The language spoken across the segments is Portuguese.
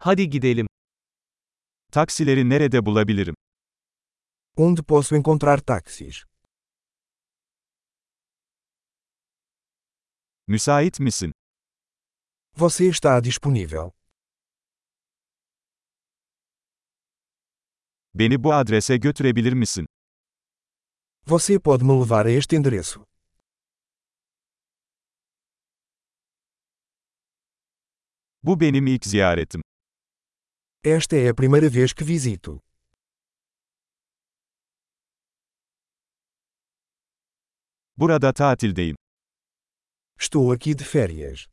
Hadi gidelim. Taksileri nerede bulabilirim? Onde posso encontrar táxis? Müsait misin? Você está disponível. Beni bu adrese götürebilir misin? Você pode me levar a este endereço. Bu benim ilk ziyaretim. Esta é a primeira vez que visito. Burada tatildeyim. Estou aqui de férias.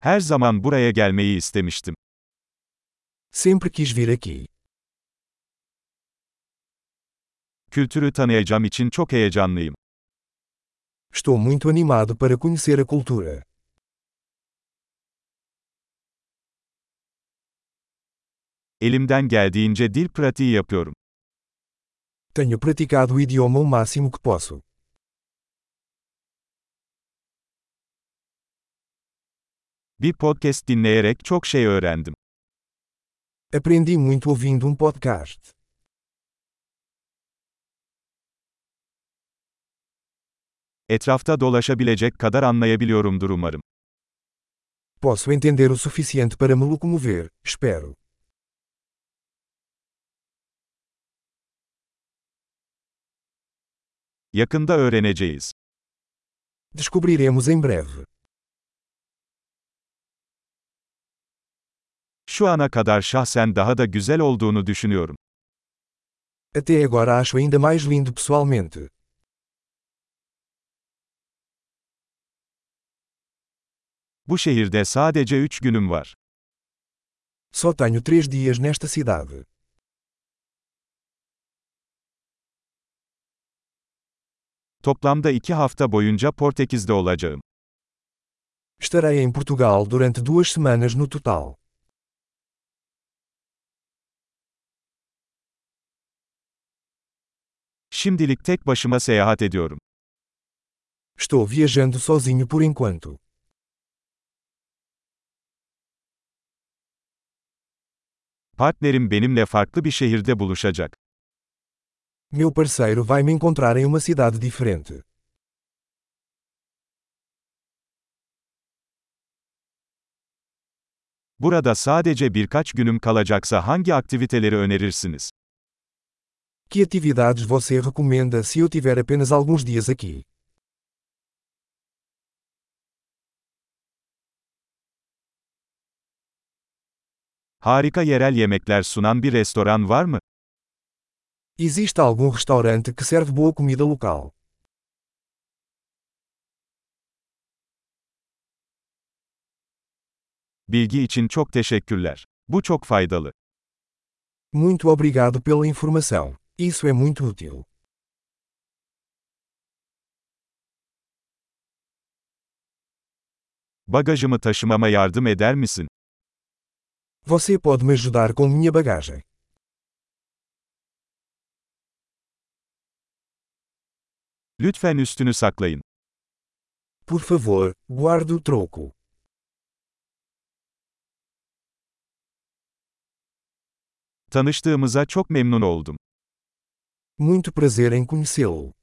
Her zaman buraya gelmeyi istemiştim. Sempre quis vir aqui. Kültürü tanıyacağım için çok heyecanlıyım. Estou muito animado para conhecer a cultura. Elimden geldiğince dil pratiği yapıyorum. Tenho praticado o idioma o máximo que posso. Bir podcast dinleyerek çok şey öğrendim. Aprendi muito ouvindo um podcast. Etrafta dolaşabilecek kadar anlayabiliyorumdur umarım. Posso entender o suficiente para me locomover, espero. Yakında öğreneceğiz. Descobriremos em breve. Şu ana kadar şahsen daha da güzel olduğunu düşünüyorum. Até agora acho ainda mais lindo pessoalmente. Bu şehirde sadece 3 günüm var. Só tenho três dias nesta cidade. Toplamda 2 hafta boyunca Portekiz'de olacağım. Estarei em Portugal durante duas semanas no total. Şimdilik tek başıma seyahat ediyorum. Estou viajando sozinho por enquanto. Partnerim benimle farklı bir şehirde buluşacak. Meu parceiro vai me encontrar em uma cidade diferente. Burada sadece birkaç günüm kalacaksa hangi aktiviteleri önerirsiniz? Que atividades você recomenda se eu tiver apenas alguns dias aqui? Harika yerel yemekler sunan bir restoran var mı? Existe algum restaurante que serve boa comida local? Bilgi için çok teşekkürler. Bu çok faydalı. Muito obrigado pela informação. Isso é muito útil. Bagajımı taşımama yardım eder misin? Você pode me ajudar com minha bagagem. Lütfen üstünü saklayın. Por favor, guarde o troco. Tanıştığımıza çok memnun oldum. Muito prazer em conhecê-lo.